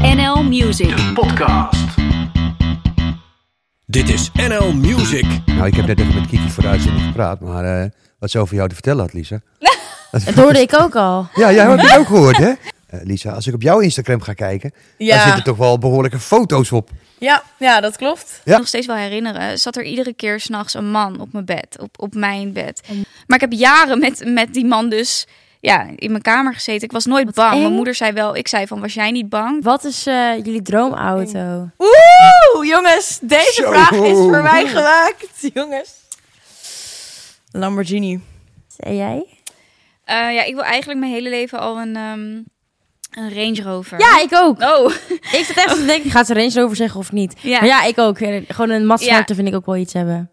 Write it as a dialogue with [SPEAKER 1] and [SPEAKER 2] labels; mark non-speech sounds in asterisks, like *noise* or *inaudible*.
[SPEAKER 1] NL Music.
[SPEAKER 2] podcast.
[SPEAKER 3] Dit is NL Music.
[SPEAKER 4] Nou, ik heb net even met Kiki voor de uitzending gepraat, maar eh, wat ze over jou te vertellen had, Lisa.
[SPEAKER 5] Dat hoorde ik ook al.
[SPEAKER 4] Ja, jij hebt het ook gehoord, hè? Eh, Lisa, als ik op jouw Instagram ga kijken, daar zitten toch wel behoorlijke foto's op.
[SPEAKER 6] Ja, ja, dat klopt.
[SPEAKER 4] Ja.
[SPEAKER 7] nog steeds wel herinneren, zat er iedere keer s'nachts een man op mijn bed, op, op mijn bed. Maar ik heb jaren met, met die man dus ja, in mijn kamer gezeten. Ik was nooit bang.
[SPEAKER 5] eng.
[SPEAKER 7] Mijn moeder zei wel, ik zei van, was jij niet bang?
[SPEAKER 5] Wat is eh, jullie droomauto?
[SPEAKER 6] Oeh, jongens, deze vraag is voor mij gemaakt. *laughs* Jongens. Lamborghini.
[SPEAKER 5] En jij?
[SPEAKER 7] Eh, ja, ik wil eigenlijk mijn hele leven al een, ehm, een Range Rover.
[SPEAKER 5] Ja, ik ook. *laughs*
[SPEAKER 7] Oh,
[SPEAKER 5] Ik zat echt te denken, gaat ze Range Rover zeggen of niet?
[SPEAKER 7] Ja.
[SPEAKER 5] Maar ja, ik ook. Gewoon een Maserati
[SPEAKER 7] Ja.
[SPEAKER 5] vind ik ook wel iets hebben.